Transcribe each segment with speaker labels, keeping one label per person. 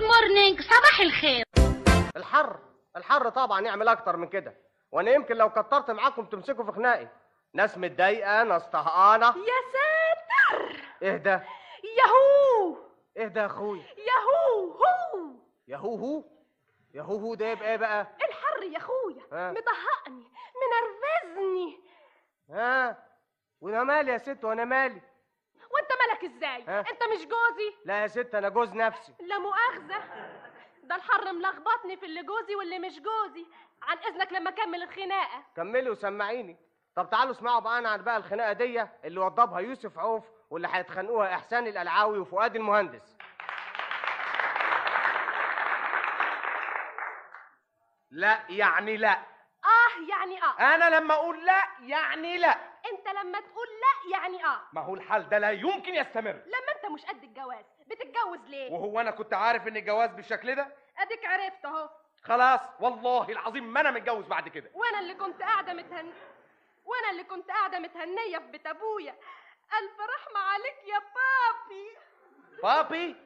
Speaker 1: خليج صباح الخير
Speaker 2: الحر الحر طبعا يعمل اكتر من كده وانا يمكن لو كترت معاكم تمسكوا في خناقي ناس متضايقه ناس طهقانه
Speaker 1: يا ساتر
Speaker 2: اهدى
Speaker 1: يهو
Speaker 2: اهدى يا اخويا
Speaker 1: يهو هو
Speaker 2: يا هو هو يا هو هو ده يبقى ايه بقى
Speaker 1: الحر يا اخويا
Speaker 2: ها؟
Speaker 1: مطهقني منرفزني
Speaker 2: ها وانا مالي يا ست وانا مالي
Speaker 1: وانت مالك ازاي
Speaker 2: ها؟
Speaker 1: انت مش جوزي
Speaker 2: لا يا ست انا جوز نفسي
Speaker 1: لا مؤاخذة ده الحر ملخبطني في اللي جوزي واللي مش جوزي عن اذنك لما اكمل الخناقة
Speaker 2: كملي وسمعيني طب تعالوا اسمعوا بقى انا عن بقى الخناقه دي اللي وضبها يوسف عوف واللي هيتخانقوها احسان القلعاوي وفؤاد المهندس
Speaker 3: لا يعني لا
Speaker 1: اه يعني اه
Speaker 3: انا لما اقول لا يعني لا
Speaker 1: انت لما تقول لا يعني اه
Speaker 3: ما هو الحال ده لا يمكن يستمر
Speaker 1: لما انت مش قد الجواز بتتجوز ليه
Speaker 3: وهو انا كنت عارف ان الجواز بالشكل ده
Speaker 1: اديك عرفت اهو
Speaker 3: خلاص والله العظيم ما انا متجوز بعد كده
Speaker 1: وانا اللي كنت قاعده متهن وانا اللي كنت قاعده متهنيه في بيت ابويا الف رحمه عليك يا بابي
Speaker 3: بابي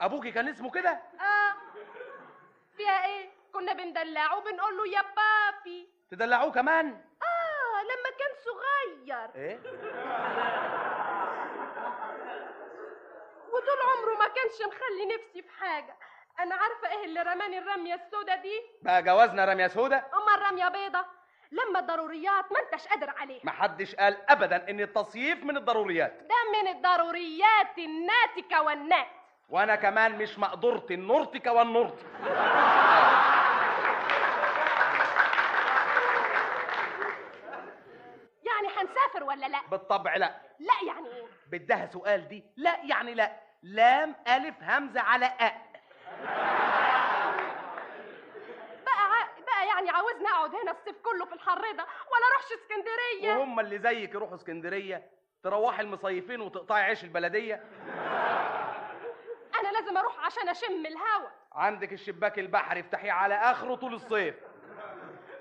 Speaker 3: ابوكي كان اسمه كده
Speaker 1: اه فيها ايه كنا بندلعه وبنقول له يا بابي
Speaker 3: تدلعوه كمان
Speaker 1: اه لما كان صغير
Speaker 3: ايه
Speaker 1: وطول عمره ما كانش مخلي نفسي في حاجه انا عارفه ايه اللي رماني الرميه السودا دي
Speaker 3: بقى جوازنا رميه سودة
Speaker 1: اما الرميه بيضه لما الضروريات ما انتش قادر عليها
Speaker 3: محدش قال ابدا ان التصييف من الضروريات
Speaker 1: ده من الضروريات الناتكه والنات
Speaker 3: وانا كمان مش مقدرتي نورتك والنورتي
Speaker 1: يعني هنسافر ولا لا
Speaker 3: بالطبع لا
Speaker 1: لا يعني ايه
Speaker 3: بدها سؤال دي لا يعني لا لام الف همزه على أ
Speaker 1: بقى ع- بقى يعني عاوزني اقعد هنا الصيف كله في الحر ده ولا اروحش اسكندريه
Speaker 3: وهم اللي زيك يروحوا اسكندريه تروحي المصيفين وتقطعي عيش البلديه
Speaker 1: انا لازم اروح عشان اشم الهوا
Speaker 3: عندك الشباك البحري افتحيه على اخره طول الصيف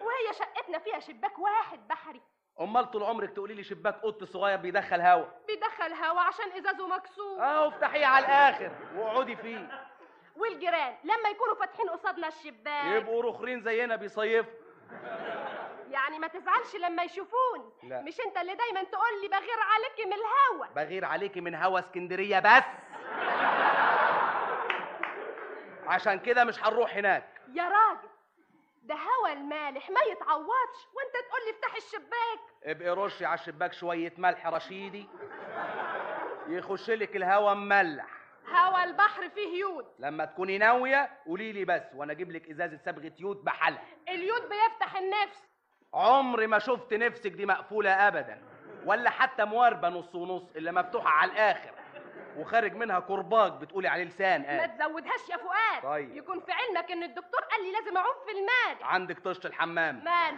Speaker 1: وهي شقتنا فيها شباك واحد بحري
Speaker 3: امال طول عمرك تقولي لي شباك قط صغير بيدخل هوا
Speaker 1: بيدخل هوا عشان ازازه مكسور
Speaker 3: اهو افتحيه على الاخر واقعدي فيه
Speaker 1: والجيران لما يكونوا فاتحين قصادنا الشباك
Speaker 3: يبقوا رخرين زينا بيصيفوا
Speaker 1: يعني ما تزعلش لما يشوفوني
Speaker 3: لا.
Speaker 1: مش انت اللي دايما تقول لي بغير عليك من الهوا
Speaker 3: بغير عليكي من هوا اسكندريه بس عشان كده مش هنروح هناك
Speaker 1: يا راجل ده هوا المالح ما يتعوضش وانت تقول لي افتح الشباك
Speaker 3: ابقي رشي على الشباك شويه ملح رشيدي يخش لك الهوا مملح
Speaker 1: هوا البحر فيه يود
Speaker 3: لما تكوني ناويه قولي لي بس وانا اجيب لك ازازه صبغه يود بحالها
Speaker 1: اليود بيفتح النفس
Speaker 3: عمري ما شفت نفسك دي مقفوله ابدا ولا حتى مواربه نص ونص الا مفتوحه على الاخر وخارج منها كرباج بتقولي عليه لسان
Speaker 1: ما
Speaker 3: قال
Speaker 1: تزودهاش يا فؤاد
Speaker 3: طيب.
Speaker 1: يكون في علمك ان الدكتور قال لي لازم اعوم في المال
Speaker 3: عندك طشت الحمام
Speaker 1: مال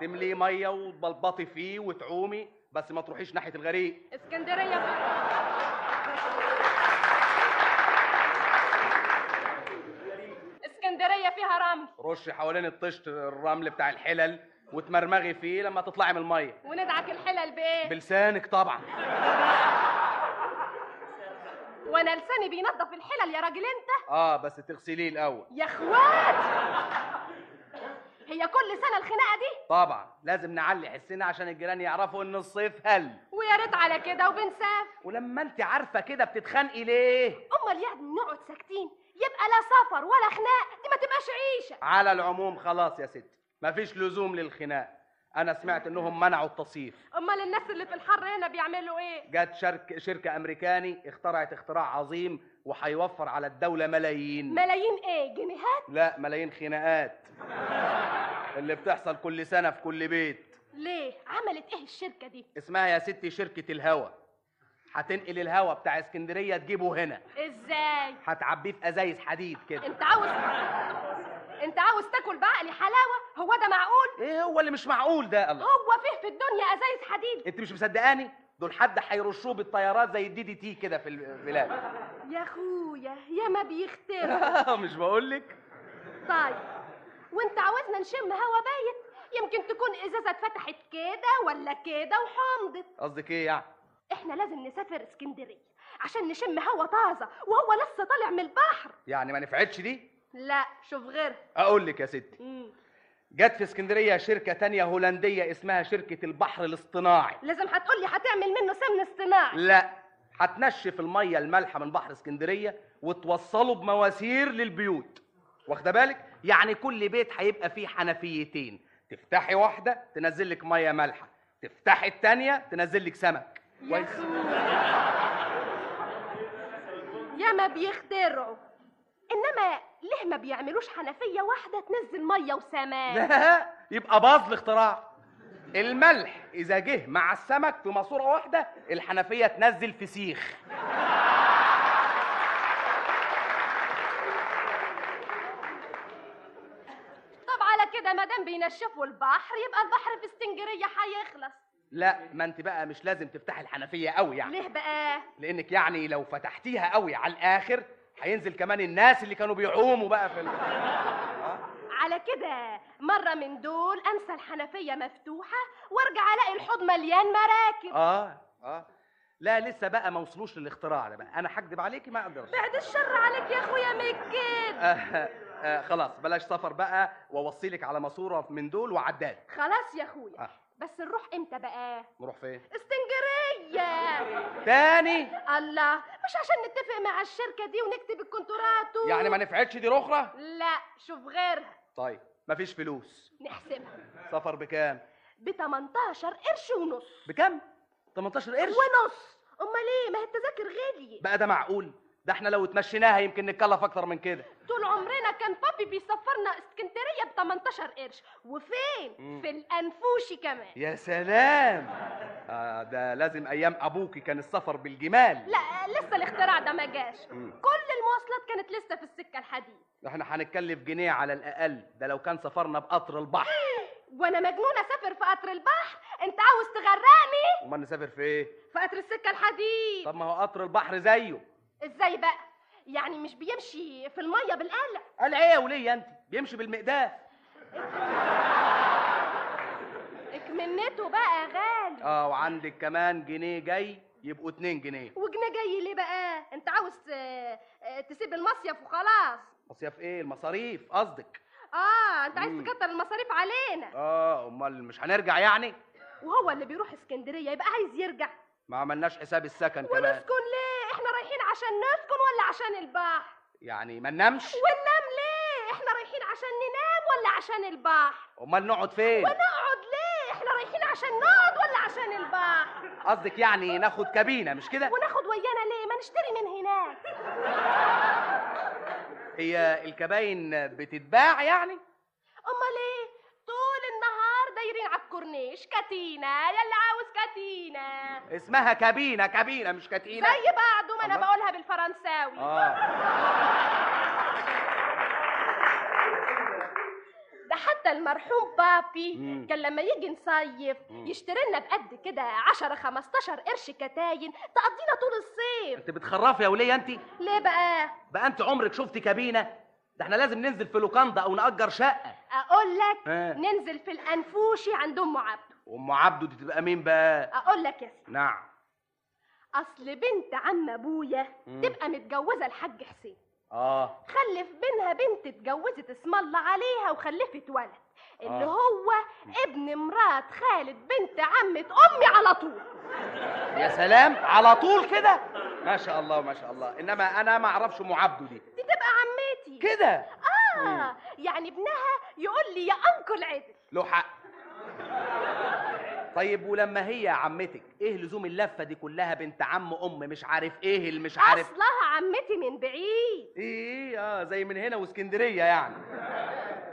Speaker 3: تمليه ميه وتبلبطي فيه وتعومي بس ما تروحيش ناحيه الغريق
Speaker 1: اسكندريه بقى. اسكندريه فيها رمل
Speaker 3: رشي حوالين الطشت الرمل بتاع الحلل وتمرمغي فيه لما تطلعي من الميه
Speaker 1: وندعك الحلل بايه
Speaker 3: بلسانك طبعا
Speaker 1: وانا لساني بينظف الحلل يا راجل انت
Speaker 3: اه بس تغسليه الاول
Speaker 1: يا اخوات هي كل سنه الخناقه دي
Speaker 3: طبعا لازم نعلي حسنا عشان الجيران يعرفوا ان الصيف هل
Speaker 1: ويا ريت على كده وبنساف
Speaker 3: ولما انت عارفه كده بتتخانقي ليه
Speaker 1: امال يعني نقعد ساكتين يبقى لا سفر ولا خناق دي ما تبقاش عيشه
Speaker 3: على العموم خلاص يا ستي مفيش لزوم للخناق انا سمعت انهم منعوا التصيف
Speaker 1: امال الناس اللي في الحر هنا بيعملوا ايه
Speaker 3: جت شرك شركه امريكاني اخترعت اختراع عظيم وهيوفر على الدوله ملايين
Speaker 1: ملايين ايه جنيهات
Speaker 3: لا ملايين خناقات اللي بتحصل كل سنه في كل بيت
Speaker 1: ليه عملت ايه الشركه دي
Speaker 3: اسمها يا ستي شركه الهوا هتنقل الهوا بتاع اسكندريه تجيبه هنا
Speaker 1: ازاي
Speaker 3: هتعبيه في ازايز حديد كده
Speaker 1: انت عاوز انت عاوز تاكل بعقلي حلاوه هو ده معقول
Speaker 3: ايه هو اللي مش معقول ده الله
Speaker 1: هو فيه في الدنيا ازايز حديد
Speaker 3: انت مش مصدقاني دول حد هيرشوه بالطيارات زي الدي دي تي كده في البلاد
Speaker 1: يا اخويا يا ما بيخترع
Speaker 3: مش بقول لك
Speaker 1: طيب وانت عاوزنا نشم هوا بايت يمكن تكون ازازه اتفتحت كده ولا كده وحمضت
Speaker 3: قصدك ايه يعني
Speaker 1: احنا لازم نسافر اسكندريه عشان نشم هوا طازه وهو لسه طالع من البحر
Speaker 3: يعني ما نفعتش دي
Speaker 1: لا شوف غيرها
Speaker 3: اقول لك يا ستي
Speaker 1: مم.
Speaker 3: جت في اسكندريه شركه تانية هولنديه اسمها شركه البحر الاصطناعي
Speaker 1: لازم هتقولي هتعمل منه سمن اصطناعي
Speaker 3: لا هتنشف الميه المالحه من بحر اسكندريه وتوصله بمواسير للبيوت واخده بالك يعني كل بيت هيبقى فيه حنفيتين تفتحي واحده تنزل لك ميه مالحه تفتحي الثانيه تنزل لك سمك
Speaker 1: يا يا ما بيخترعوا انما ليه ما بيعملوش حنفيه واحده تنزل ميه وسماء
Speaker 3: لا يبقى باظ الاختراع الملح اذا جه مع السمك في ماسوره واحده الحنفيه تنزل فسيخ
Speaker 1: طب على كده ما دام بينشفوا البحر يبقى البحر في اسكندريه هيخلص
Speaker 3: لا ما انت بقى مش لازم تفتحي الحنفيه قوي يعني
Speaker 1: ليه بقى
Speaker 3: لانك يعني لو فتحتيها قوي على الاخر هينزل كمان الناس اللي كانوا بيعوموا بقى في ال...
Speaker 1: على كده مره من دول انسى الحنفيه مفتوحه وارجع الاقي الحوض مليان مراكب
Speaker 3: اه اه لا لسه بقى ما وصلوش للاختراع ده بقى انا هكدب عليكي ما اقدرش
Speaker 1: بعد الشر عليك يا اخويا مكيد
Speaker 3: آه آه خلاص بلاش سفر بقى واوصيلك على ماسوره من دول وعداد
Speaker 1: خلاص يا اخويا
Speaker 3: آه.
Speaker 1: بس نروح امتى بقى
Speaker 3: نروح فين
Speaker 1: اسكندريه
Speaker 3: تاني
Speaker 1: الله مش عشان نتفق مع الشركة دي ونكتب الكونترات و-
Speaker 3: يعني ما نفعتش دي رخره
Speaker 1: لا شوف غيرها
Speaker 3: طيب مفيش فلوس
Speaker 1: نحسبها
Speaker 3: سفر بكام
Speaker 1: ب 18 قرش ونص
Speaker 3: بكام 18 قرش
Speaker 1: ونص امال ايه ما هي التذاكر غالية
Speaker 3: بقى ده معقول ده احنا لو اتمشيناها يمكن نتكلف اكتر من كده
Speaker 1: طول عمرنا كان بابي بيسفرنا اسكندرية ب 18 قرش وفين
Speaker 3: مم.
Speaker 1: في الانفوشي كمان
Speaker 3: يا سلام آه ده لازم ايام ابوكي كان السفر بالجمال
Speaker 1: لا لسه الاختراع ده ما جاش
Speaker 3: مم.
Speaker 1: كل المواصلات كانت لسه في السكة الحديد
Speaker 3: احنا هنتكلف جنيه على الاقل ده لو كان سفرنا بقطر البحر
Speaker 1: وانا مجنونة اسافر في قطر البحر انت عاوز تغرقني
Speaker 3: امال نسافر في ايه
Speaker 1: في قطر السكة الحديد
Speaker 3: طب ما هو قطر البحر زيه
Speaker 1: ازاي بقى يعني مش بيمشي في الميه بالقلع
Speaker 3: قال ايه يا وليه انت بيمشي بالمقداف
Speaker 1: اكمنته بقى غالي
Speaker 3: اه وعندك كمان جنيه جاي يبقوا اتنين جنيه
Speaker 1: وجنيه جاي ليه بقى انت عاوز آه، آه، تسيب المصيف وخلاص
Speaker 3: مصيف ايه المصاريف قصدك
Speaker 1: اه انت عايز
Speaker 3: مم.
Speaker 1: تكتر المصاريف علينا
Speaker 3: اه امال مش هنرجع يعني
Speaker 1: وهو اللي بيروح اسكندريه يبقى عايز يرجع
Speaker 3: ما عملناش حساب السكن كمان
Speaker 1: ونسكن ليه احنا رايحين عشان نسكن ولا عشان البحر
Speaker 3: يعني ما ننامش
Speaker 1: وننام ليه احنا رايحين عشان ننام ولا عشان البحر
Speaker 3: امال نقعد فين
Speaker 1: ونقعد ليه احنا رايحين عشان نقعد ولا عشان البحر
Speaker 3: قصدك يعني ناخد كابينه مش كده
Speaker 1: وناخد ويانا ليه ما نشتري من هناك
Speaker 3: هي الكباين بتتباع يعني
Speaker 1: امال ايه طول النهار دايرين على الكورنيش كاتينا يا اللي عاوز كاتينا
Speaker 3: اسمها كابينه كابينه مش كتينه
Speaker 1: زي بعضه طيب، ما انا
Speaker 3: الله.
Speaker 1: بقولها بالفرنساوي
Speaker 3: اه
Speaker 1: ده حتى المرحوم بابي
Speaker 3: مم.
Speaker 1: كان لما يجي نصيف
Speaker 3: مم.
Speaker 1: يشتري لنا بقد كده 10 15 قرش كتاين تقضينا طول الصيف
Speaker 3: انت بتخرفي يا وليه انت
Speaker 1: ليه بقى
Speaker 3: بقى انت عمرك شفتي كابينه ده احنا لازم ننزل في لوكاندا او نأجر شقه
Speaker 1: اقول لك
Speaker 3: آه.
Speaker 1: ننزل في الانفوشي عند ام عبده
Speaker 3: وام عبده دي تبقى مين بقى
Speaker 1: اقول لك يا سيدي
Speaker 3: نعم
Speaker 1: اصل بنت عم ابويا
Speaker 3: مم.
Speaker 1: تبقى متجوزه الحاج حسين
Speaker 3: اه
Speaker 1: خلف بينها بنت اتجوزت اسم الله عليها وخلفت ولد اللي
Speaker 3: آه.
Speaker 1: هو ابن مرات خالد بنت عمة أمي على طول
Speaker 3: يا سلام على طول كده ما شاء الله ما شاء الله انما انا ما اعرفش ام عبده دي
Speaker 1: دي تبقى عمتي
Speaker 3: كده
Speaker 1: آه يعني ابنها يقول لي يا أنكل عدل
Speaker 3: له حق طيب ولما هي عمتك ايه لزوم اللفه دي كلها بنت عم ام مش عارف ايه اللي مش عارف
Speaker 1: أصلها عمتي من بعيد
Speaker 3: ايه اه زي من هنا واسكندريه يعني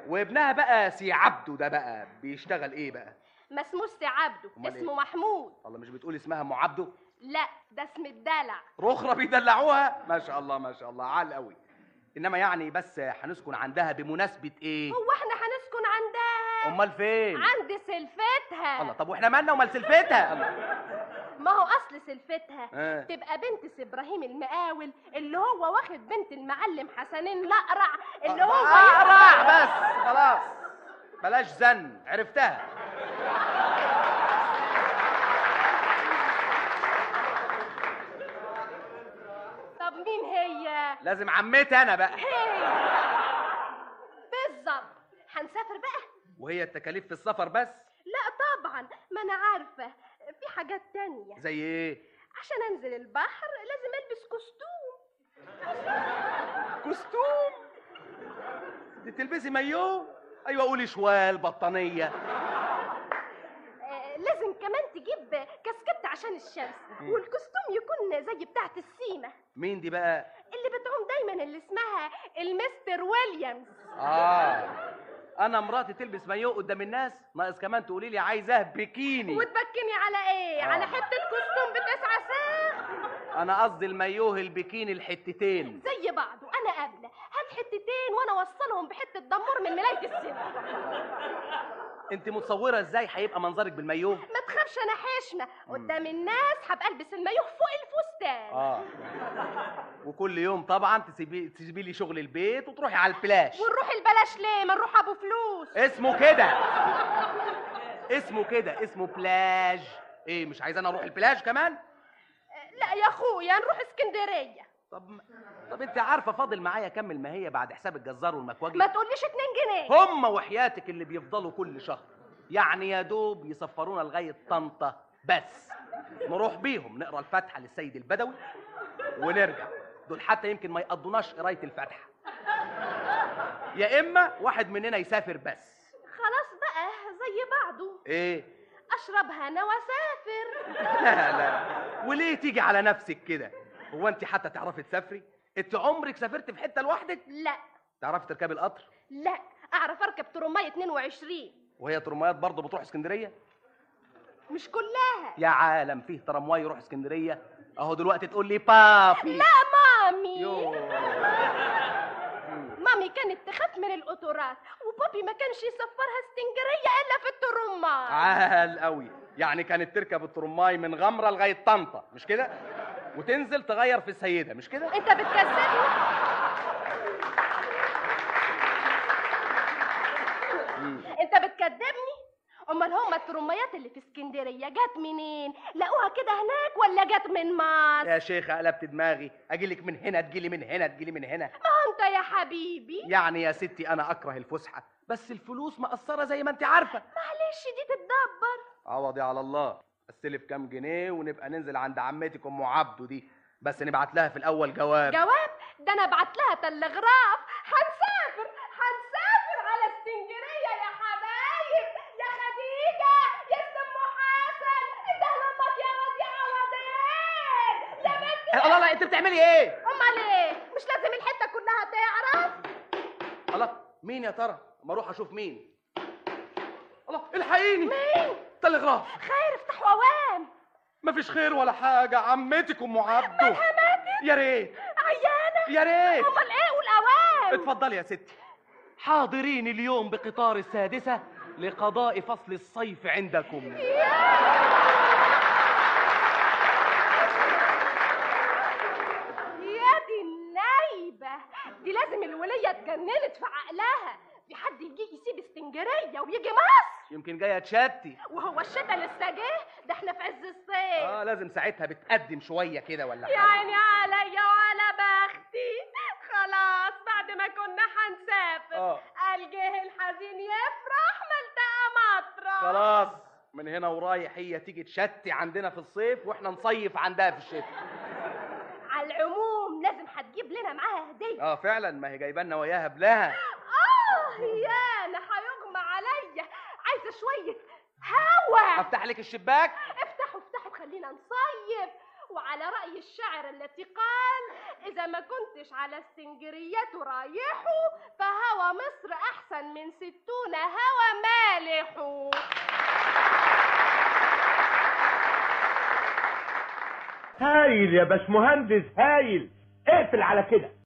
Speaker 3: وابنها بقى سي عبده ده بقى بيشتغل ايه بقى
Speaker 1: ما اسموش سي عبده
Speaker 3: أمال إيه؟
Speaker 1: اسمه محمود
Speaker 3: الله مش بتقول اسمها ام عبده
Speaker 1: لا ده اسم الدلع
Speaker 3: رخرة بيدلعوها ما شاء الله ما شاء الله عال قوي انما يعني بس هنسكن عندها بمناسبه ايه
Speaker 1: هو احنا هنسكن عندها
Speaker 3: امال فين
Speaker 1: عند
Speaker 3: الله
Speaker 1: سلفتها
Speaker 3: طب واحنا مالنا ومال سلفتها الله
Speaker 1: ما هو أصل سلفتها
Speaker 3: آه.
Speaker 1: تبقى بنت سي ابراهيم المقاول اللي هو واخد بنت المعلم حسنين الاقرع اللي هو
Speaker 3: اقرع آه، بس خلاص بلاش زن عرفتها لازم عمتي انا بقى
Speaker 1: بالظبط هنسافر بقى
Speaker 3: وهي التكاليف في السفر بس
Speaker 1: لا طبعا ما انا عارفه في حاجات تانية
Speaker 3: زي ايه
Speaker 1: عشان انزل البحر لازم البس كوستوم
Speaker 3: كوستوم دي تلبسي مايو ايوه قولي شوال بطانيه
Speaker 1: آه، لازم كمان تجيب كاسكت عشان الشمس والكوستوم يكون زي بتاعه السيمه
Speaker 3: مين دي بقى
Speaker 1: اللي بتعوم دايما اللي اسمها المستر ويليامز
Speaker 3: اه انا مراتي تلبس مايو قدام الناس ناقص كمان تقولي لي عايزاه بكيني
Speaker 1: وتبكني على ايه
Speaker 3: آه.
Speaker 1: على حته كوستوم بتسعة ساق
Speaker 3: انا قصدي المايوه البكيني الحتتين
Speaker 1: زي بعض وانا قابله هات حتتين وانا اوصلهم بحته دمور من ملايه السينما
Speaker 3: انت متصوره ازاي هيبقى منظرك بالمايوه
Speaker 1: ما تخافش انا حاشمه قدام الناس هبقى البس المايوه فوق الفستان
Speaker 3: اه وكل يوم طبعا تسيبي تسيبي لي شغل البيت وتروحي على البلاش
Speaker 1: ونروح البلاش ليه ما نروح ابو فلوس
Speaker 3: اسمه كده اسمه كده اسمه بلاج ايه مش عايز انا اروح البلاج كمان
Speaker 1: آه، لا يا اخويا نروح اسكندريه
Speaker 3: طب ما- طب انت عارفه فاضل معايا كمل ما هي بعد حساب الجزار والمكواجي
Speaker 1: ما تقوليش 2 جنيه
Speaker 3: هم وحياتك اللي بيفضلوا كل شهر يعني يا دوب يسفرونا لغايه طنطا بس نروح بيهم نقرا الفاتحه للسيد البدوي ونرجع دول حتى يمكن ما يقضوناش قرايه الفاتحه يا اما واحد مننا يسافر بس
Speaker 1: خلاص بقى زي بعضه
Speaker 3: ايه
Speaker 1: اشرب هنا واسافر
Speaker 3: لا لا وليه تيجي على نفسك كده هو انت حتى تعرفي تسافري انت عمرك سافرت في حته لوحدك
Speaker 1: لا
Speaker 3: تعرفي تركبي القطر
Speaker 1: لا اعرف اركب ترمايه 22
Speaker 3: وهي ترميات برضه بتروح اسكندريه
Speaker 1: مش كلها
Speaker 3: يا عالم فيه ترامواي يروح اسكندريه اهو دلوقتي تقول لي بابي
Speaker 1: لا مامي
Speaker 3: يو
Speaker 1: مامي كانت تخاف من القطورات وبابي ما كانش يسفرها اسكندريه الا في
Speaker 3: آه.
Speaker 1: الترمايه
Speaker 3: عال قوي يعني كانت تركب الترماي من غمره لغايه طنطا مش كده وتنزل تغير في السيده مش كده
Speaker 1: انت بتكذبني انت بتكذبني امال هما الترميات اللي في اسكندريه جت منين لقوها كده هناك ولا جت من مصر
Speaker 3: يا شيخه قلبت دماغي اجي لك من هنا تجي لي من هنا تجي لي من هنا
Speaker 1: ما هو انت يا حبيبي
Speaker 3: يعني يا ستي انا اكره الفسحه بس الفلوس مقصره زي ما انت عارفه
Speaker 1: معلش دي تتدبر
Speaker 3: عوضي على الله استلف كام جنيه ونبقى ننزل عند عمتك ام عبده دي بس نبعت لها في الاول جواب
Speaker 1: جواب ده انا بعت لها تلغراف هنسافر هنسافر على اسكندريه يا حبايب يا خديجه يا سم حسن انت لمك يا وديع عوضين يا بنت
Speaker 3: أه، الله الله انت بتعملي ايه
Speaker 1: امال ايه مش لازم الحته كلها تعرف
Speaker 3: الله مين يا ترى؟ ما اروح اشوف مين. الله الحقيني
Speaker 1: مين
Speaker 3: تلغراف
Speaker 1: خير افتحوا اوام
Speaker 3: مفيش خير ولا حاجه عمتك ام عبده يا ريت
Speaker 1: عيانه
Speaker 3: يا ريت
Speaker 1: امال ايه والاوام
Speaker 3: اتفضلي يا ستي حاضرين اليوم بقطار السادسه لقضاء فصل الصيف عندكم
Speaker 1: يا دي النايبه دي لازم الوليه اتجننت في عقلها في حد يجي يسيب اسكندريه ويجي مصر
Speaker 3: يمكن جايه تشتي
Speaker 1: وهو الشتا لسه جه ده احنا في عز الصيف
Speaker 3: اه لازم ساعتها بتقدم شويه كده ولا
Speaker 1: يا
Speaker 3: حاجه
Speaker 1: عيني عليا وعلى بختي خلاص بعد ما كنا هنسافر
Speaker 3: آه.
Speaker 1: قال جه الحزين يفرح ما التقى مطرح
Speaker 3: خلاص من هنا ورايح هي تيجي تشتي عندنا في الصيف واحنا نصيف عندها في الشتاء
Speaker 1: على العموم لازم هتجيب لنا معاها هديه
Speaker 3: اه فعلا ما هي جايبانا وياها بلاها
Speaker 1: اه يا انا هيغمى عليا عايزه شويه هوا
Speaker 3: افتح لك الشباك
Speaker 1: افتحوا افتحوا خلينا نصيف وعلى رأي الشاعر التي قال إذا ما كنتش على اسكندرية رايحوا فهوى مصر أحسن من ستون هوى مالح
Speaker 4: هايل يا باشمهندس هايل اقفل على كده